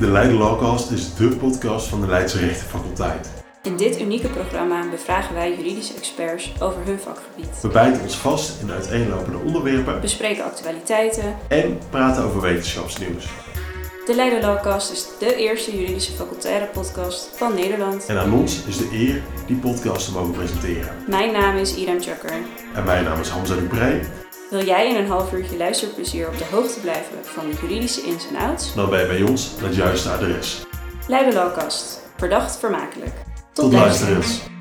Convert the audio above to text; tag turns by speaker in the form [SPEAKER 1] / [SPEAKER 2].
[SPEAKER 1] De Leiden Lawcast is de podcast van de Leidse Rechtenfaculteit.
[SPEAKER 2] In dit unieke programma bevragen wij juridische experts over hun vakgebied.
[SPEAKER 1] We bijten ons vast in uiteenlopende onderwerpen
[SPEAKER 2] Bespreken actualiteiten.
[SPEAKER 1] en praten over wetenschapsnieuws.
[SPEAKER 2] De Leiden Lawcast is de eerste juridische facultaire podcast van Nederland.
[SPEAKER 1] En aan ons is de eer die podcast te mogen presenteren.
[SPEAKER 2] Mijn naam is Irem Chakker.
[SPEAKER 1] En mijn naam is Hamza Dupré.
[SPEAKER 2] Wil jij in een half uurtje luisterplezier op de hoogte blijven van de juridische ins en outs?
[SPEAKER 1] Dan ben je bij ons naar het juiste adres.
[SPEAKER 2] Leiden Lawcast. Verdacht vermakelijk.
[SPEAKER 1] Tot luisterens!